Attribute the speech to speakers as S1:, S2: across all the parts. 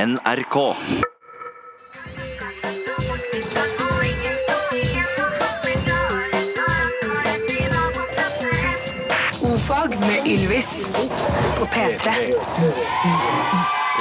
S1: NRK.
S2: Ofag med Ylvis på P3.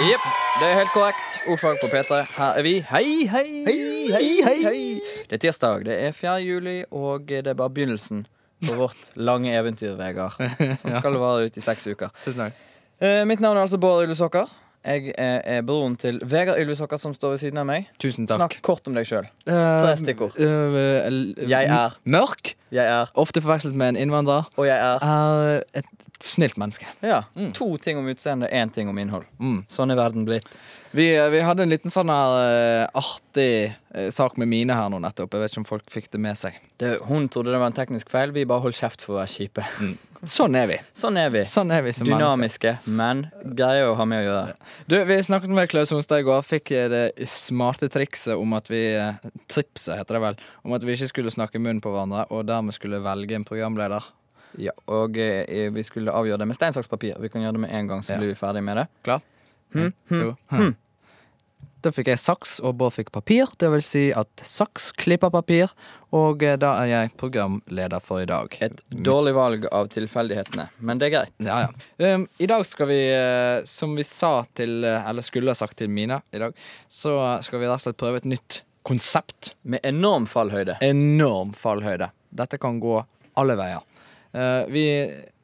S3: Jepp, det er helt korrekt. Ordfag på P3. Her er vi. Hei, hei. Det er tirsdag, det er 4. juli, og det er bare begynnelsen på vårt lange eventyr, Vegard. Som skal vare ut i seks uker.
S4: Tusen takk.
S3: Eh, mitt navn er altså Bård Ylvisåker. Jeg er, er broren til Vegard Ylvisåker, som står ved siden av meg.
S4: Tusen Eh,
S3: Snakk kort om deg sjøl.
S4: Tre
S3: stikkord. Jeg
S4: Jeg
S3: er.
S4: mørk,
S3: Jeg er,
S4: ofte forvekslet med en innvandrer.
S3: og jeg er.
S4: Er et snilt menneske.
S3: Ja, To ting om utseende, én ting om innhold.
S4: Mm.
S3: Sånn er verden blitt.
S4: Vi, vi hadde en liten sånn her eh, artig eh, sak med Mine her nå nettopp. Jeg vet ikke om folk fikk det med seg.
S3: Det, hun trodde det var en teknisk feil. Vi bare holdt kjeft for å være kjipe.
S4: Sånn er vi.
S3: Sånn er vi.
S4: Sånn er vi som mennesker.
S3: Dynamiske, men greier å ha med å gjøre.
S4: Du, vi snakket med Klaus Onstad i går. Fikk eh, det smarte trikset om at vi eh, Tripset heter det vel. Om at vi ikke skulle snakke munn på hverandre, og dermed skulle velge en programleder.
S3: Ja, og eh, vi skulle avgjøre det med stein, saks, papir. Vi kan gjøre det med en gang, så
S4: Ja.
S3: blir vi ferdig med det.
S4: Klar? To. Hm. Da fikk jeg saks, og Bård fikk papir. Det vil si at saks klipper papir, og eh, da er jeg programleder for i dag.
S3: Et dårlig valg av tilfeldighetene, men det er greit.
S4: Ja, ja. Um, I dag skal vi, eh, som vi sa til, eh, eller skulle ha sagt til Mina i dag, så skal vi rett og slett prøve et nytt konsept.
S3: Med enorm fallhøyde.
S4: Enorm fallhøyde. Dette kan gå alle veier. Eh, vi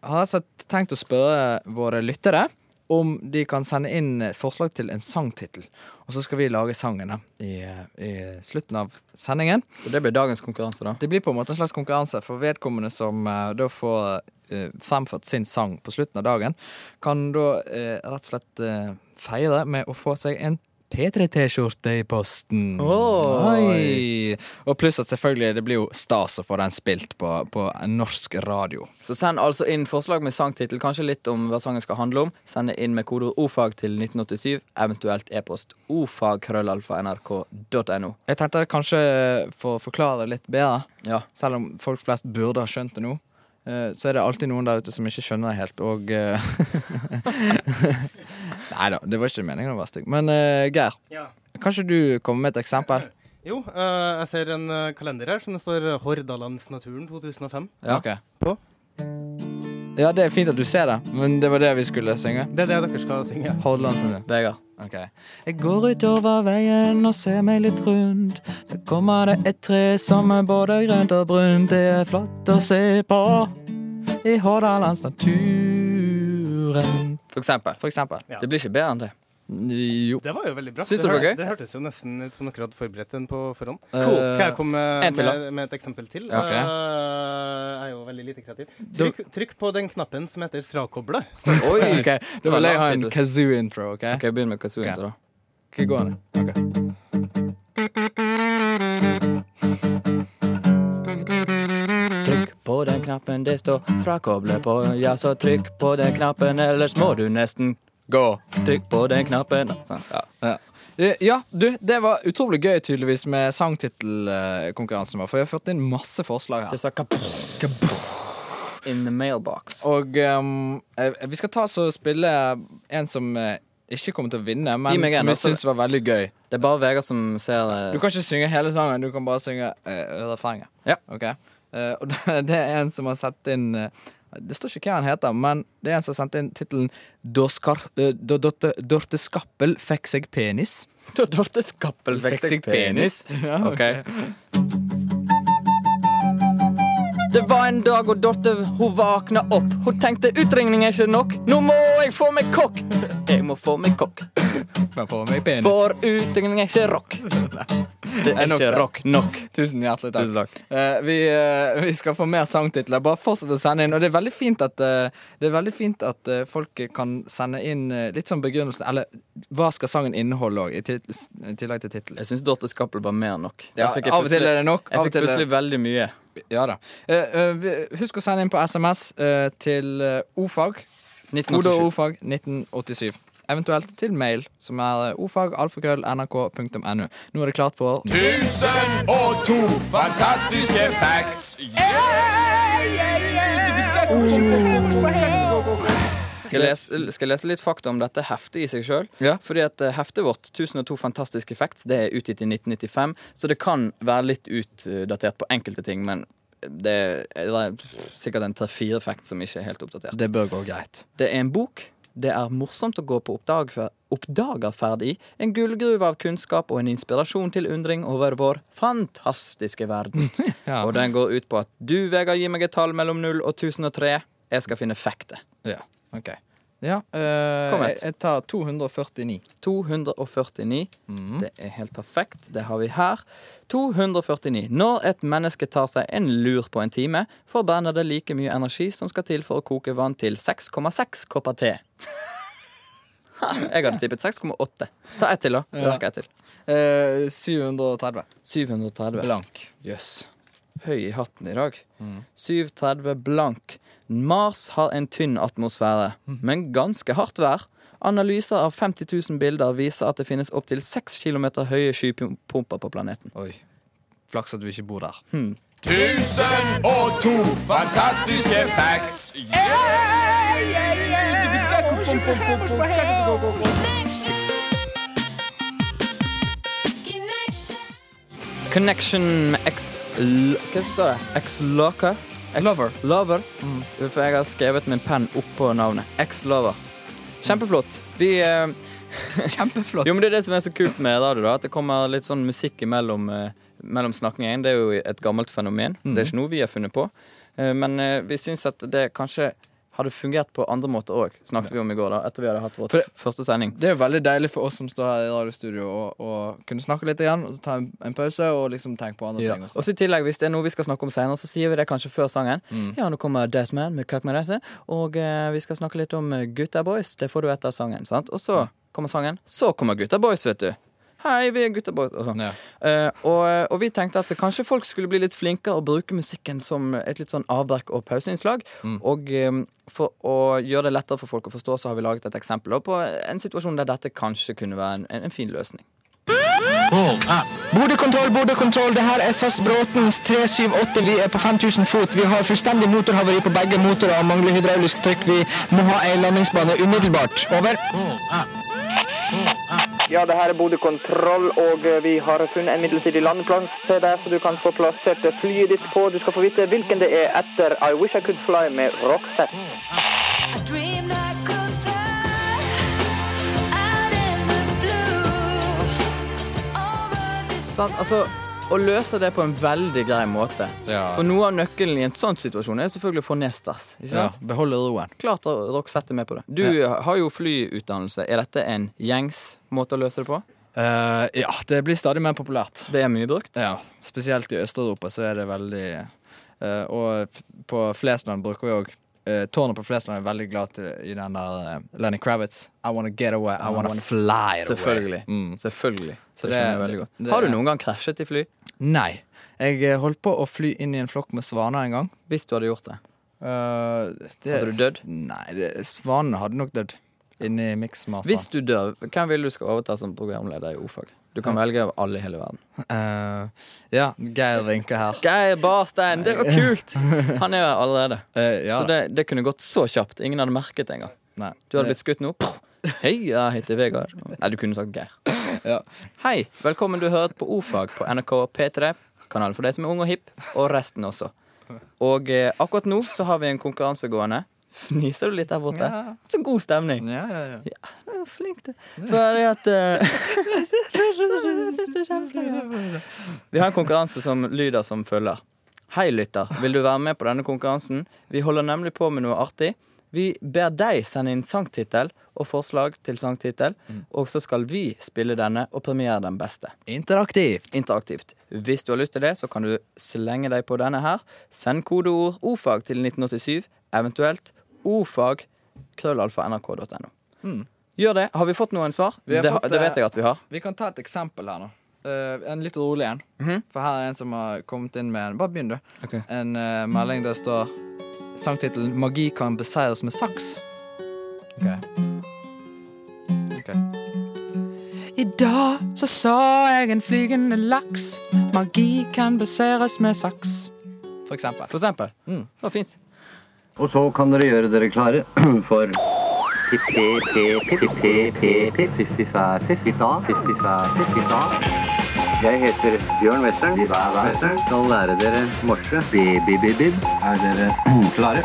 S4: har rett og slett tenkt å spørre våre lyttere om de kan sende inn forslag til en sangtittel. Og så skal vi lage sangene i, i slutten av sendingen.
S3: Så det blir dagens konkurranse, da.
S4: Det blir på en måte en slags konkurranse for vedkommende som eh, da får eh, fremført sin sang på slutten av dagen, kan da eh, rett og slett eh, feire med å få seg en P3T-skjorte i posten.
S3: Oi.
S4: Oi. Og pluss at selvfølgelig det blir jo stas å få den spilt på, på norsk radio.
S3: Så send altså inn forslag med sangtittel, kanskje litt om hva sangen skal handle om. Send det inn med kodeord ofag til 1987, eventuelt e-post ofagkrøllalfa.nrk.no.
S4: Jeg tenkte kanskje eh, for å forklare det litt bedre,
S3: Ja.
S4: selv om folk flest burde ha skjønt det nå, eh, så er det alltid noen der ute som ikke skjønner det helt, og eh, Nei da, det var ikke meningen å være stygg. Men eh, Geir,
S5: Ja.
S4: kanskje du kommer med et eksempel?
S5: Jo, eh, jeg ser en eh, kalender her som det står Hordalandsnaturen 2005.
S3: Ja.
S4: Ok.
S5: På?
S4: Ja, det er fint at du ser det, men det var det vi skulle synge.
S5: Det er det dere skal synge.
S4: Hordalandsnytt.
S3: Vegard.
S4: Ok. Jeg går utover veien og ser meg litt rundt. Der kommer det et tre som er både grønt og brunt. Det er flott å se på i Hordalandsnaturen.
S3: For eksempel.
S4: For eksempel.
S5: Ja.
S3: Det blir ikke bedre enn det.
S4: Jo.
S5: Det var jo veldig bra.
S3: Syns
S5: det,
S3: du det var
S5: hør-
S3: gøy? Eh,
S5: det hørtes jo nesten ut som dere hadde forberedt den på forhånd.
S4: Cool.
S5: Skal jeg komme
S3: en
S5: med,
S3: til, da?
S5: med, med et eksempel til?
S4: Ja, ok.
S5: Eh, jeg er jo veldig lite kreativ. Trykk, trykk på den knappen som heter 'frakoble'. Står det.
S3: Oi!
S4: Ok, Da vil jeg ha en kazoo-intro. ok?
S3: Ok, Begynn med kazooen,
S4: Ok.
S3: da.
S4: Ikke gå ned.
S3: Trykk på den knappen det står 'frakoble' på, ja, så trykk på den knappen, ellers må du nesten
S4: Gå.
S3: Trykk på den knappen. Sånn, ja.
S4: Ja. Eh, ja, du, det var utrolig gøy tydeligvis med sangtittelkonkurransen vår, for jeg har fått inn masse forslag her.
S3: Det sa kapuff. In the mailbox.
S4: Og ehm, eh, vi skal ta oss og spille en som eh, ikke kommer til å vinne,
S3: Gi
S4: men
S3: meg en,
S4: som vi
S3: altså.
S4: syns var veldig gøy.
S3: Det er bare Vegard som ser eh,
S4: Du kan ikke synge hele sangen, du kan bare synge uh, refrenget.
S3: Ja.
S4: Ok? Eh, og det, det er en som har sendt inn eh, Det står ikke hva han heter, men det er en som har sendt inn tittelen «Da Skar- eh, «Da Dorte- Dorte Skappel fikk seg penis.
S3: Da Dorte Skappel fikk seg penis.
S4: Ja,
S3: Ok. Det var en dag og Dorte hun vakna opp. Hun tenkte utringning er ikke nok. Nå må jeg få meg kokk. Jeg må få meg kokk.
S4: Men for meg penis.
S3: For utringning er ikke rock. Det er ikke
S4: nok, det.
S3: rock nok.
S4: Tusen hjertelig takk.
S3: Tusen takk.
S4: Eh, vi, eh, vi skal få mer sangtitler. Bare fortsett å sende inn. Og det er veldig fint at, eh, det er veldig fint at eh, folk kan sende inn eh, litt sånn begrunnelsen Eller hva skal sangen inneholde òg, i, tit- i tillegg til tittelen.
S3: Jeg syns Dorte Skappel var mer enn nok. Der
S4: Ja,
S3: fikk jeg
S4: av og til
S3: plutselig-
S4: er det nok,
S3: Jeg
S4: av og
S3: fikk
S4: til er det-
S3: plutselig veldig mye.
S4: Ja da. Eh, eh, vi- husk å sende inn på SMS eh, til eh, ofag. Kode
S3: 1987.
S4: og ordfag 1987. Eventuelt til mail, som er eh, ofag alfakrøll nrk.no. Nå er det klart for
S3: Skal jeg, lese, skal jeg lese litt fakta om dette heftet i seg sjøl?
S4: Ja.
S3: Fordi at eh, heftet vårt, 1002 Fantastic Effects, det er utgitt i 1995, så det kan være litt utdatert på enkelte ting, men det er, det er sikkert en tre-fire effekt som ikke er helt oppdatert.
S4: Det bør gå greit.
S3: Det er en bok. Det er morsomt å gå på oppdag oppdagerferd i. En gullgruve av kunnskap og en inspirasjon til undring over vår fantastiske verden.
S4: Ja.
S3: Og den går ut på at du, Vegard, gir meg et tall mellom 0 og 1003. Jeg skal finne fekte.
S4: Ja, ok. Ja, eh,
S3: Kom
S4: jeg,
S3: igjen.
S4: jeg tar 249.
S3: 249. Mm. Det er helt perfekt. Det har vi her. 249. Når et menneske tar seg en lur på en time, får bandet det like mye energi som skal til for å koke vann til 6,6 kopper te. Ha, Jeg hadde tippet 6,8. Ta ett til, da. Vi rekker ett til.
S4: Eh, 730.
S3: 730.
S4: Blank.
S3: Jøss. Høy i hatten i dag. 7.30 blank. Mars har en tynn atmosfære, men ganske hardt vær. Analyser av 50 000 bilder viser at det finnes opptil 6 km høye skypumper på planeten.
S4: Oi. Flaks at du ikke bor der.
S1: Tusen og to fantastiske facts.
S3: Connection med ex... l- Hva står det? Ex-lover.
S4: Lover.
S3: Lover. For jeg har skrevet med en penn oppå navnet. Ex-lover. Kjempeflott. Vi eh,
S4: Kjempeflott.
S3: Jo, men Det er det som er så kult med radio, da at det kommer litt sånn musikk imellom eh, mellom snakningen. Det er jo et gammelt fenomen. Det er ikke noe vi har funnet på. Eh, men eh, vi syns at det kanskje hadde fungert på andre måter òg, snakket vi om i går, da, etter vi hadde hatt vår
S4: For-
S3: f- første sending.
S4: Det er jo veldig deilig for oss som står her i radiostudio og, og kunne snakke litt igjen, og så ta en, en pause og liksom tenke på andre
S3: Ja.
S4: ting.
S3: Og så i tillegg, Hvis det er noe vi skal snakke om senere, så sier vi det kanskje før sangen. Ja, nå kommer Deathman med Cuck med Desse, og eh, vi skal snakke litt om eh, Gutta Boys. Det får du etter sangen. sant? Og så kommer sangen. Så kommer Gutta Boys, vet du. Hei, vi er Gutta Boys. Og sånn.
S4: Ja.
S3: Eh, og, og vi tenkte at kanskje folk skulle bli litt flinkere og bruke musikken som et litt sånn avbrekk og pauseinnslag. Og eh, for å gjøre det lettere for folk å forstå, så har vi laget et eksempel da, på en situasjon der dette kanskje kunne være en, en, en fin løsning.
S6: Bordekontroll, bordekontroll. Det her er SAS Bråtens 378. Vi er på 5000 fot. Vi har fullstendig motorhavari på begge motorer og mangler hydraulisk trykk. Vi må ha ei landingsbane umiddelbart. Over.
S7: Ja, det her er Bodø kontroll, og eh, vi har funnet en midlertidig landeplass til deg, så du kan få plassert flyet ditt på. Du skal få vite hvilken det er etter I Wish I Could Fly med Roxette.
S3: Sant? Altså, å løse det på en veldig grei måte.
S4: Ja.
S3: For noe av nøkkelen i en sånn situasjon er selvfølgelig å få ned stress. Ikke
S4: Ja,
S3: sant?
S4: beholde roen.
S3: Klart at Rock setter med på det. Du har jo flyutdannelse. Er dette en gjengs måte å løse det på?
S4: Eh, ja, det blir stadig mer populært.
S3: Det er mye brukt.
S4: Ja, Spesielt i Øst-Europa så er det veldig eh, Og på Flesland bruker vi òg Tårnet på Flesland er veldig glad til, i den der eh, Lenny Kravitz. I wanna get away, I wanna fly away.
S3: Selvfølgelig.
S4: Mm.
S3: Selvfølgelig.
S4: Så
S3: det,
S4: det-
S3: skjønner jeg veldig godt.
S4: det-
S3: Har du noen gang krasjet i fly?
S4: Nei. Jeg eh, holdt på å fly inn i en flokk med svaner en gang.
S3: Hvis du hadde gjort det.
S4: Eh, det,
S3: Hadde du dødd?
S4: Nei, det, svanen hadde nok dødd. Inni miksmasteren.
S3: Hvis du dør, hvem vil du skal overta som programleder i O-fag? Du kan velge av alle i hele verden.
S4: Eh, ja, Geir Rinke her.
S3: Geir Barstein, det var kult! Han er jo her allerede.
S4: Eh, ja,
S3: Så det, det kunne gått så kjapt. Ingen hadde merket det engang.
S4: nei.
S3: Du hadde blitt skutt nå. Hei, jeg heter Vegard. Nei, du kunne sagt Geir. Hei, velkommen du hører på O-fag på NRK P3. Kanal for deg som er ung og hipp, og resten også. Og eh, akkurat nå så har vi en konkurranse gående. Fniser du litt der borte?
S4: Ja.
S3: Så god stemning.
S4: Ja, ja, ja.
S3: Ja, Flink du. Fordi at eh, Vi har en konkurranse som lyder som følger. Hei, lytter. Vil du være med på denne konkurransen? Vi holder nemlig på med noe artig. Vi ber deg sende inn sangtittel og forslag til sangtittel,
S4: Mm.
S3: og så skal vi spille denne og premiere den beste
S4: Interaktivt.
S3: interaktivt. Hvis du har lyst til det, så kan du slenge deg på denne her. Send kodeord ofag til 1987, eventuelt ofag krøllalfa nrk.no. Gjør det. Har vi fått noen svar?
S4: Mm. Vi har
S3: det,
S4: fått, eh,
S3: det vet jeg at vi har.
S4: Vi kan ta et eksempel her nå. Eh, en litt rolig en. For her er en som har kommet inn med en Bare begynn, du.
S3: Ok.
S4: En eh, melding der står sangtittelen 'Magi kan beseires med saks'. Ok. Ok. I dag så så jeg en flygende laks. Magi kan beseires med saks. For eksempel.
S3: For eksempel. Det var fint.
S8: Og så kan dere gjøre dere klare for Jeg heter Bjørn Western. Western. Skal lære dere morse. Bib-bib-bib. Er dere klare?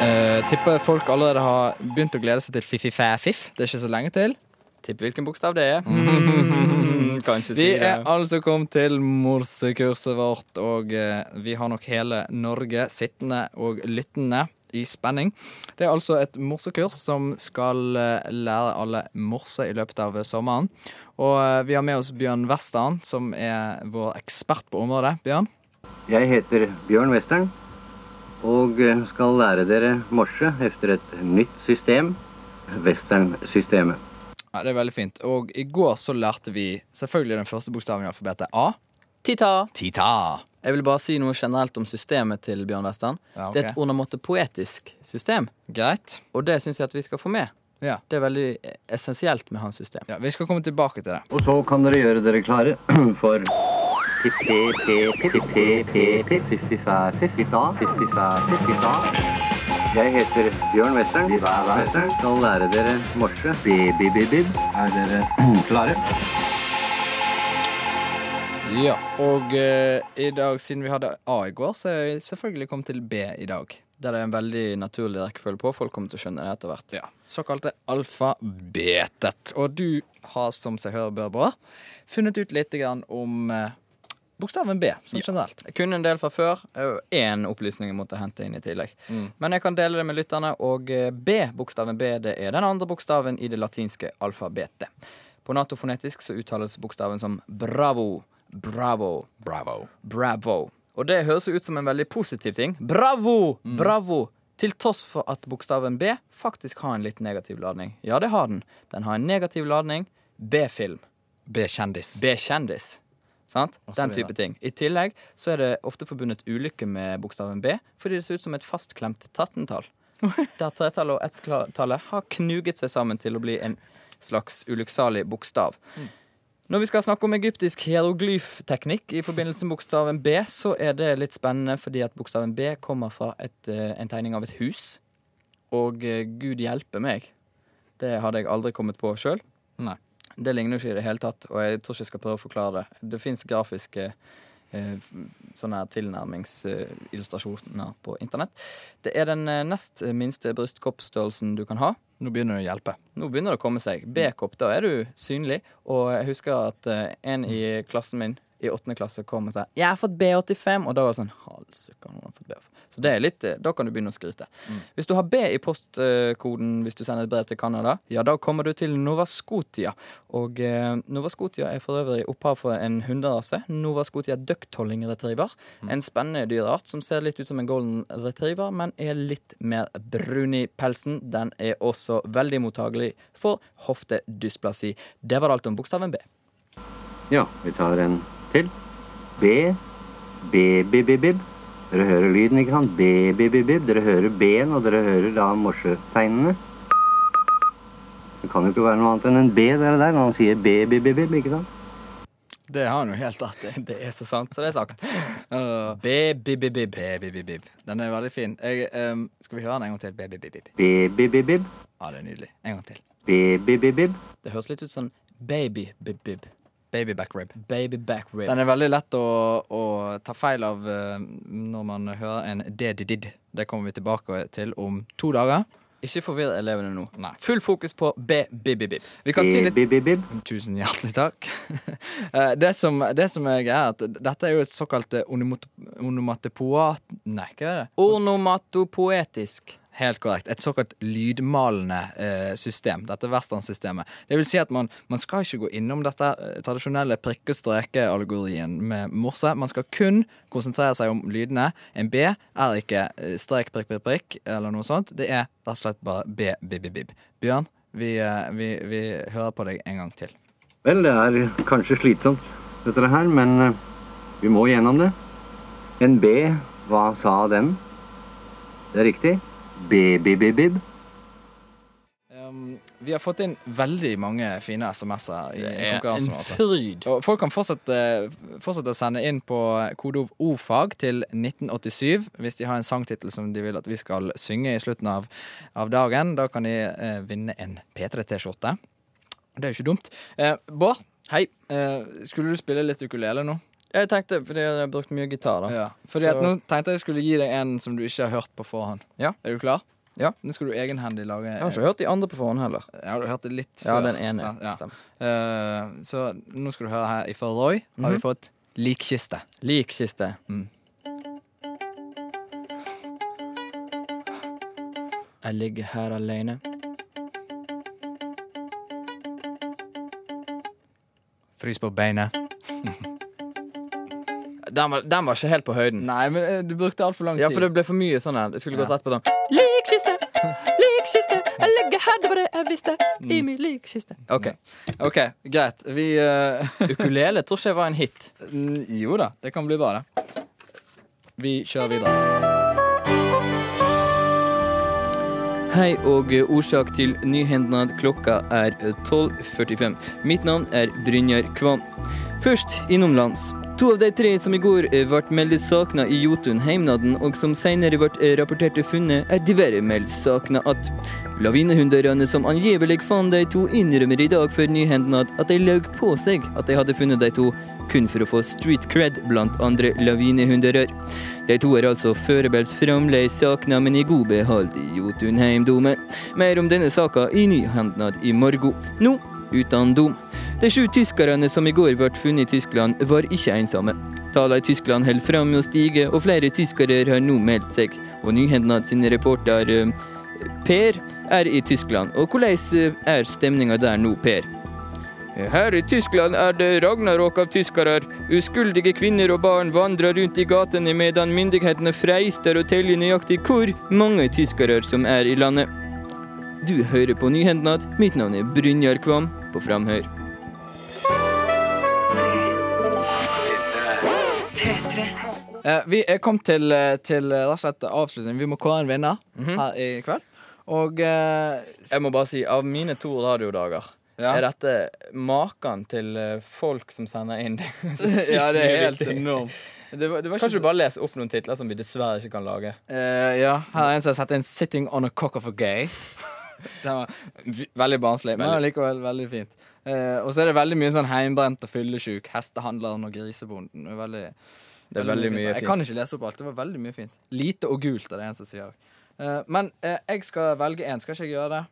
S4: Eh, tipper folk allerede har begynt å glede seg til Fiffi-fæ-fiff. Det er ikke så lenge til.
S3: Tipp hvilken bokstav det er. Mm. Kanskje
S4: Vi
S3: si det.
S4: er altså kommet til morsekurset vårt, og eh, vi har nok hele Norge sittende og lyttende i spenning. Det er altså et morsekurs som skal eh, lære alle morse i løpet av eh, sommeren. Og eh, vi har med oss Bjørn Western, som er vår ekspert på området. Bjørn?
S8: Jeg heter Bjørn Western og eh, skal lære dere morse efter et nytt system, Western-systemet.
S4: Ja, det er veldig fint. Og i går så lærte vi selvfølgelig den første bokstaven i alfabetet, A.
S3: Tita.
S4: Tita.
S3: Jeg vil bare si noe generelt om systemet til Bjørn Western.
S4: Ja, ok.
S3: Det er et onomatte poetisk system,
S4: Greit.
S3: og det syns jeg at vi skal få med.
S4: Ja.
S3: Det er veldig essensielt med hans system.
S4: ja. Vi skal komme tilbake til det.
S8: Og så kan dere gjøre dere klare for Jeg heter Bjørn Western. Western. Skal lære dere morse. Bib-bib-bib. Er dere klare?
S4: Ja, og eh, i dag, siden vi hadde A i går, så er jeg selvfølgelig kommet til B i dag.
S3: Der det er en veldig naturlig rekkefølge på. Folk kommer til å skjønne det etter hvert.
S4: Ja, Såkalte alfabetet. Og du har, som seg hør bør bra, funnet ut litt grann om eh, bokstaven B, som generelt.
S3: Jeg kunne en del fra før. og Én opplysning jeg måtte hente inn i tillegg. Men jeg kan dele det med lytterne. Og eh, B, bokstaven B, det er den andre bokstaven i det latinske alfabetet. På natofonetisk så uttales bokstaven som bravo. Bravo.
S4: Bravo.
S3: Bravo. Og det høres jo ut som en veldig positiv ting. Bravo! Bravo! Til tross for at bokstaven B faktisk har en litt negativ ladning. Ja, det har den. Den har en negativ ladning. B-film.
S4: B-kjendis.
S3: B-kjendis. Sant? Den type ting. I tillegg så er det ofte forbundet ulykke med bokstaven B, fordi det ser ut som et fastklemt 13-tall. Der tretallet og ett-tallet har knuget seg sammen til å bli en slags ulykksalig bokstav. Når vi skal snakke om egyptisk hieroglyfteknikk i forbindelse med bokstaven B, så er det litt spennende fordi at bokstaven B kommer fra et, eh, en tegning av et hus. Og eh, gud hjelpe meg, det hadde jeg aldri kommet på sjøl.
S4: Nei.
S3: Det ligner jo ikke i det hele tatt, og jeg tror ikke jeg skal prøve å forklare det. Det fins grafiske eh, f- sånne her tilnærmingsillustrasjoner på internett. Det er den eh, nest minste brystkoppstørrelsen du kan ha.
S4: Nå begynner det å hjelpe.
S3: Nå begynner det å komme seg. B-kopp, da er du synlig. Og jeg husker at eh, en i klassen min i åttende klasse kom og sa 'Jeg har fått B85', og da var det sånn Halsøka, noen har fått B85. Så det er litt, eh, da kan du begynne å skryte. Hvis du har B i postkoden hvis du sender et brev til Canada, ja, da kommer du til Nova Scotia. Og eh, Nova Scotia er for øvrig opphav for en hunderase. Nova Scotia ducktolling retriever.
S4: Mm.
S3: En spennende dyreart som ser litt ut som en golden retriever, men er litt mer brun i pelsen. Den er også veldig mottagelig for hoftedysplasi. Det var alt om bokstaven B.
S8: Ja, vi tar en til. B. B-bib-bib. Dere hører lyden, ikke sant? B-bib-bib. Dere hører B-en, og dere hører da morsetegnene. Det kan jo ikke være noe annet enn en B der og der når han sier B-bib-bib, ikke sant?
S4: Det har han jo helt rett i.
S3: Det er så sant, så det er sagt.
S4: B-bib-bib. B-bib-bib. Den er veldig fin. Jeg, ehm, skal vi høre den en gang til? B-bib-bib.
S8: B-bib-bib.
S4: Ja, det er nydelig. En gang til.
S8: B-bib-bib.
S3: Det høres litt ut som baby-bib-bib.
S4: Baby back rib.
S3: Baby-back-rib.
S4: Den er veldig lett å, å ta feil av eh, når man hører en DDDD. Det kommer vi tilbake til om to dager.
S3: Ikke forvirr elevene nå.
S4: Nei.
S3: Full fokus på B-bib-bib.
S4: Vi kan si litt
S8: B-bib-bib.
S4: Tusen hjertelig takk. Eh, det, som, det som er greia, er at dette er jo et såkalt eh, onomot- onomatopoat... Nei, hva er det?
S3: Ornomatopoetisk.
S4: Helt korrekt. Et såkalt lydmalende eh, system. Dette westernsystemet. Det vil si at man, man skal ikke gå innom dette eh, tradisjonelle prikke-streke-allegorien med morse. Man skal kun konsentrere seg om lydene. En B er ikke eh, strek, prikk, prikk, prikk eller noe sånt. Det er rett og slett bare B, bib, bib, bib. Bjørn, vi, eh, vi, vi hører på deg en gang til.
S8: Vel, det er kanskje slitsomt, dette her, men eh, vi må gjennom det. En B, hva sa den? Det er riktig. B-bib-bib.
S4: Um, Vi har fått inn veldig mange fine SMS-er i
S3: er
S4: konkurransen.
S3: en
S4: altså.
S3: fryd.
S4: Og folk kan fortsette, eh, fortsette å sende inn på kodeord ofag til 1987 hvis de har en sangtittel som de vil at vi skal synge i slutten av, av dagen. Da kan de eh, vinne en P3T-skjorte. Det er jo ikke dumt. Eh, Bård,
S3: Hei.
S4: eh, skulle du spille litt ukulele nå?
S3: Jeg tenkte, fordi jeg har brukt mye gitar, da.
S4: Ja. Fordi at
S3: Så-
S4: nå tenkte jeg skulle gi deg en som du ikke har hørt på forhånd.
S3: Ja.
S4: Er du klar?
S3: Ja.
S4: Nå skal du egenhendig lage
S3: Jeg har ikke hørt de andre på forhånd heller.
S4: Ja, du hørte litt før.
S3: Ja, den ene.
S4: sant? Ja.
S3: Stemmer.
S4: Eh, så nå skal du høre her ifra Roy. Har vi
S3: Mhm.
S4: fått likkiste. Mm.
S3: Lik kiste. Jeg ligger her alene.
S4: Frys på beinet.
S3: Den var, den var ikke helt på høyden.
S4: Nei, men eh, du brukte altfor lang tid.
S3: Ja, for det ble for mye sånn her. Det skulle gått rett på sånn.
S9: Likkiste, likkiste, jeg legger her, det var det jeg visste. I min likkiste.
S3: OK.
S4: Mm. OK, greit. Vi eh,
S3: Ukulele tror ikke jeg var en hit.
S4: n- Jo da, det kan bli bra, det. Vi kjører videre.
S3: Hei og årsak til nyhendnad. Klokka er 12.45. Mitt navn er Brynjar Kvam. Først innomlands. To av de tre som i går eh, ble meldt savna i Jotunheimnaden, og som senere ble eh, rapportert funnet, er diverre meldt savna att. Lavinehundene som angivelig fant de to, innrømmer i dag for nyhendnad at de løy på seg at de hadde funnet de to, kun for å få street cred blant andre lavinehunderør. De to er altså foreløpig fremdeles savna, men i god behold i Jotunheimdomen. Mer om denne saka i nyhendnad i morgen. Nå uten dom. De sju tyskerne som i går ble funnet i Tyskland, var ikke ensomme. Tallene i Tyskland holder fram med å stige, og flere tyskere har nå meldt seg. Og Nyhendnad sin reporter eh, Per er i Tyskland. Og hvordan eh, er stemninga der nå, Per? Her i Tyskland er det ragnarok av tyskere. Uskyldige kvinner og barn vandrer rundt i gatene medan myndighetene freister å telle nøyaktig hvor mange tyskere som er i landet. Du hører på Nyhendnad. Mitt navn er Brynjar Kvam på Framhør.
S2: P3.
S4: Eh, vi er kommet til, eh, til eh, rett og slett avslutningen. Vi må kåre en vinner her i kveld. Og eh,
S3: Mhm. Jeg må bare si, av mine to radiodager
S4: Ja.
S3: er dette maken til eh, folk som sender inn. Det er så sykt
S4: Ja, det er
S3: mye
S4: helt
S3: viktig.
S4: enormt. Det var, det var ikke
S3: Kanskje du
S4: så-
S3: bare leser opp noen titler som vi dessverre ikke kan lage?
S4: Eh, ja, her er en som har satt inn 'Sitting on a cock of a gay'. Den var v- veldig barnslig, men likevel veldig fint. Eh, og så er det veldig mye sånn heimbrent og fyllesyk. Hestehandleren og grisebonden. Det er veldig,
S3: Det er veldig mye
S4: Jeg
S3: fint.
S4: kan ikke lese opp alt. Det var veldig mye fint. Lite og gult er det en som sier. Eh, men eh, jeg skal velge en. Skal ikke jeg gjøre det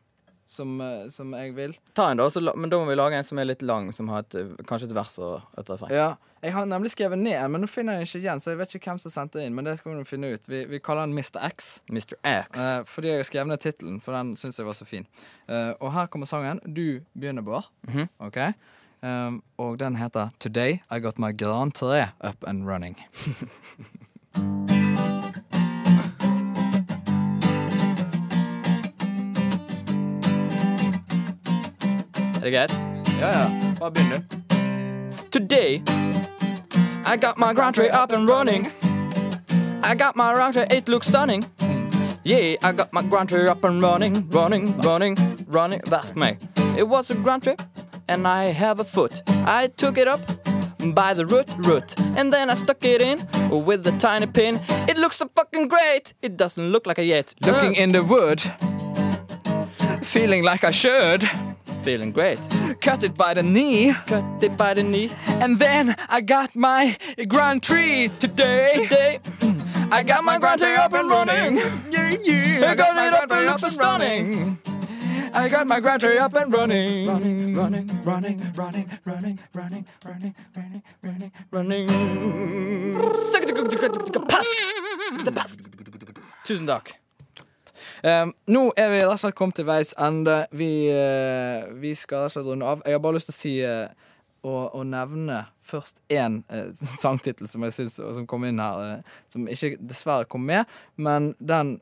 S4: som, eh, som jeg vil?
S3: Ta en da, så la, men da må vi lage en som er litt lang, som har et, eh, kanskje et vers og et refreng.
S4: Ja, jeg har nemlig skrevet ned en, men nå finner jeg den ikke igjen. Så jeg vet ikke hvem som sendte den inn, men det skal vi nå finne ut. Vi, vi kaller den Mr. X.
S3: Mr. X.
S4: Eh, fordi jeg har skrevet ned tittelen, for den syns jeg var så fin. Eh, og her kommer sangen. Du begynner, Bård.
S3: Mhm.
S4: Ok? Um, og den heter 'Today I Got My Gran Tre Up and Running'.
S3: Er det greit?
S4: Ja, ja. Bare begynn, du.
S3: Today I got my ground tray up and running. I got my ground tray, it looks stunning. Yeah, I got my ground tray up and running, running, running, running. That's me. It was a ground tray, and I have a foot. I took it up by the root, root, and then I stuck it in with a tiny pin. It looks so fucking great. It doesn't look like a yet. Uh.
S4: Looking in the wood, feeling like I should.
S3: feeling great.
S4: Cut it by the knee,
S3: Cut it by the knee.
S4: and then I got my Grand Tree today.
S3: Today
S4: I got my Grand Prix up and running. Yeah, yeah. I got it up and up and running. I got my Grand Prix up and running. Running, running, running, running, running, running, running, running, running, running.
S3: Tusen takk.
S4: Um, nå er vi rett og slett kommet til veis ende. Vi, eh, vi skal rett og slett runde av. Jeg har bare lyst til å si eh, å, å nevne først én eh, sangtittel som jeg synes, som kom inn her, eh, som ikke dessverre kom med, men den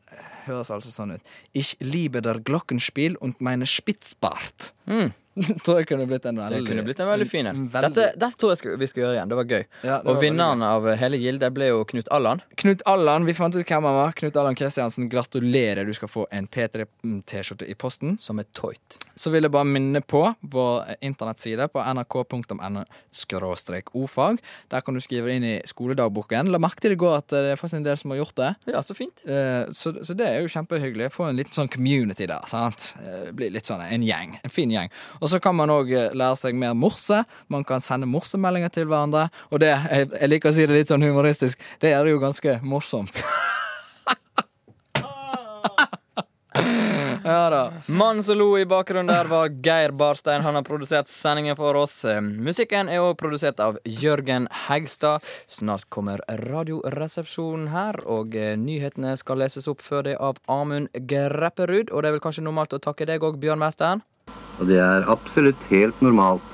S4: høres altså sånn ut. Ich liebe der Glockenspiel und meine Spitzbart. Tror jeg kunne blitt en veldig
S3: Mm. Det kunne blitt en veldig fin en.
S4: veldig-
S3: Dette, dette tror jeg sku- vi skal gjøre igjen. Det var gøy.
S4: Ja, det var
S3: og vinneren av
S4: eh,
S3: hele gildet ble jo Knut Allan.
S4: Knut Allan, vi fant ut hvem han var. Knut Allan Kristiansen, gratulerer. Du skal få en P3-T-skjorte i posten.
S3: Som er tøyt.
S4: Så vil jeg bare minne på vår internettside på nrk.no-ofag. Der kan du skrive inn i skoledagboken. La merke til i går at det er faktisk en del som har gjort det.
S3: Ja, så fint.
S4: Eh, Så, så det er jo kjempehyggelig. Få en liten sånn community der. sant? Eh, Bli litt sånn en gjeng. En fin gjeng. Og så kan man òg lære seg mer morse. Man kan sende morsemeldinger til hverandre. Og det, jeg, jeg liker å si det litt sånn humoristisk, det er jo ganske morsomt. ja da.
S3: Mannen som lo i bakgrunnen der, var Geir Barstein. Han har produsert sendingen for oss. Eh, Musikken er også produsert av Jørgen Hegstad. Snart kommer Radioresepsjonen her, og eh, nyhetene skal leses opp før det av Amund Grepperud. Og det er vel kanskje normalt å takke deg òg, Bjørn Mesteren?
S8: Og det er absolutt helt normalt.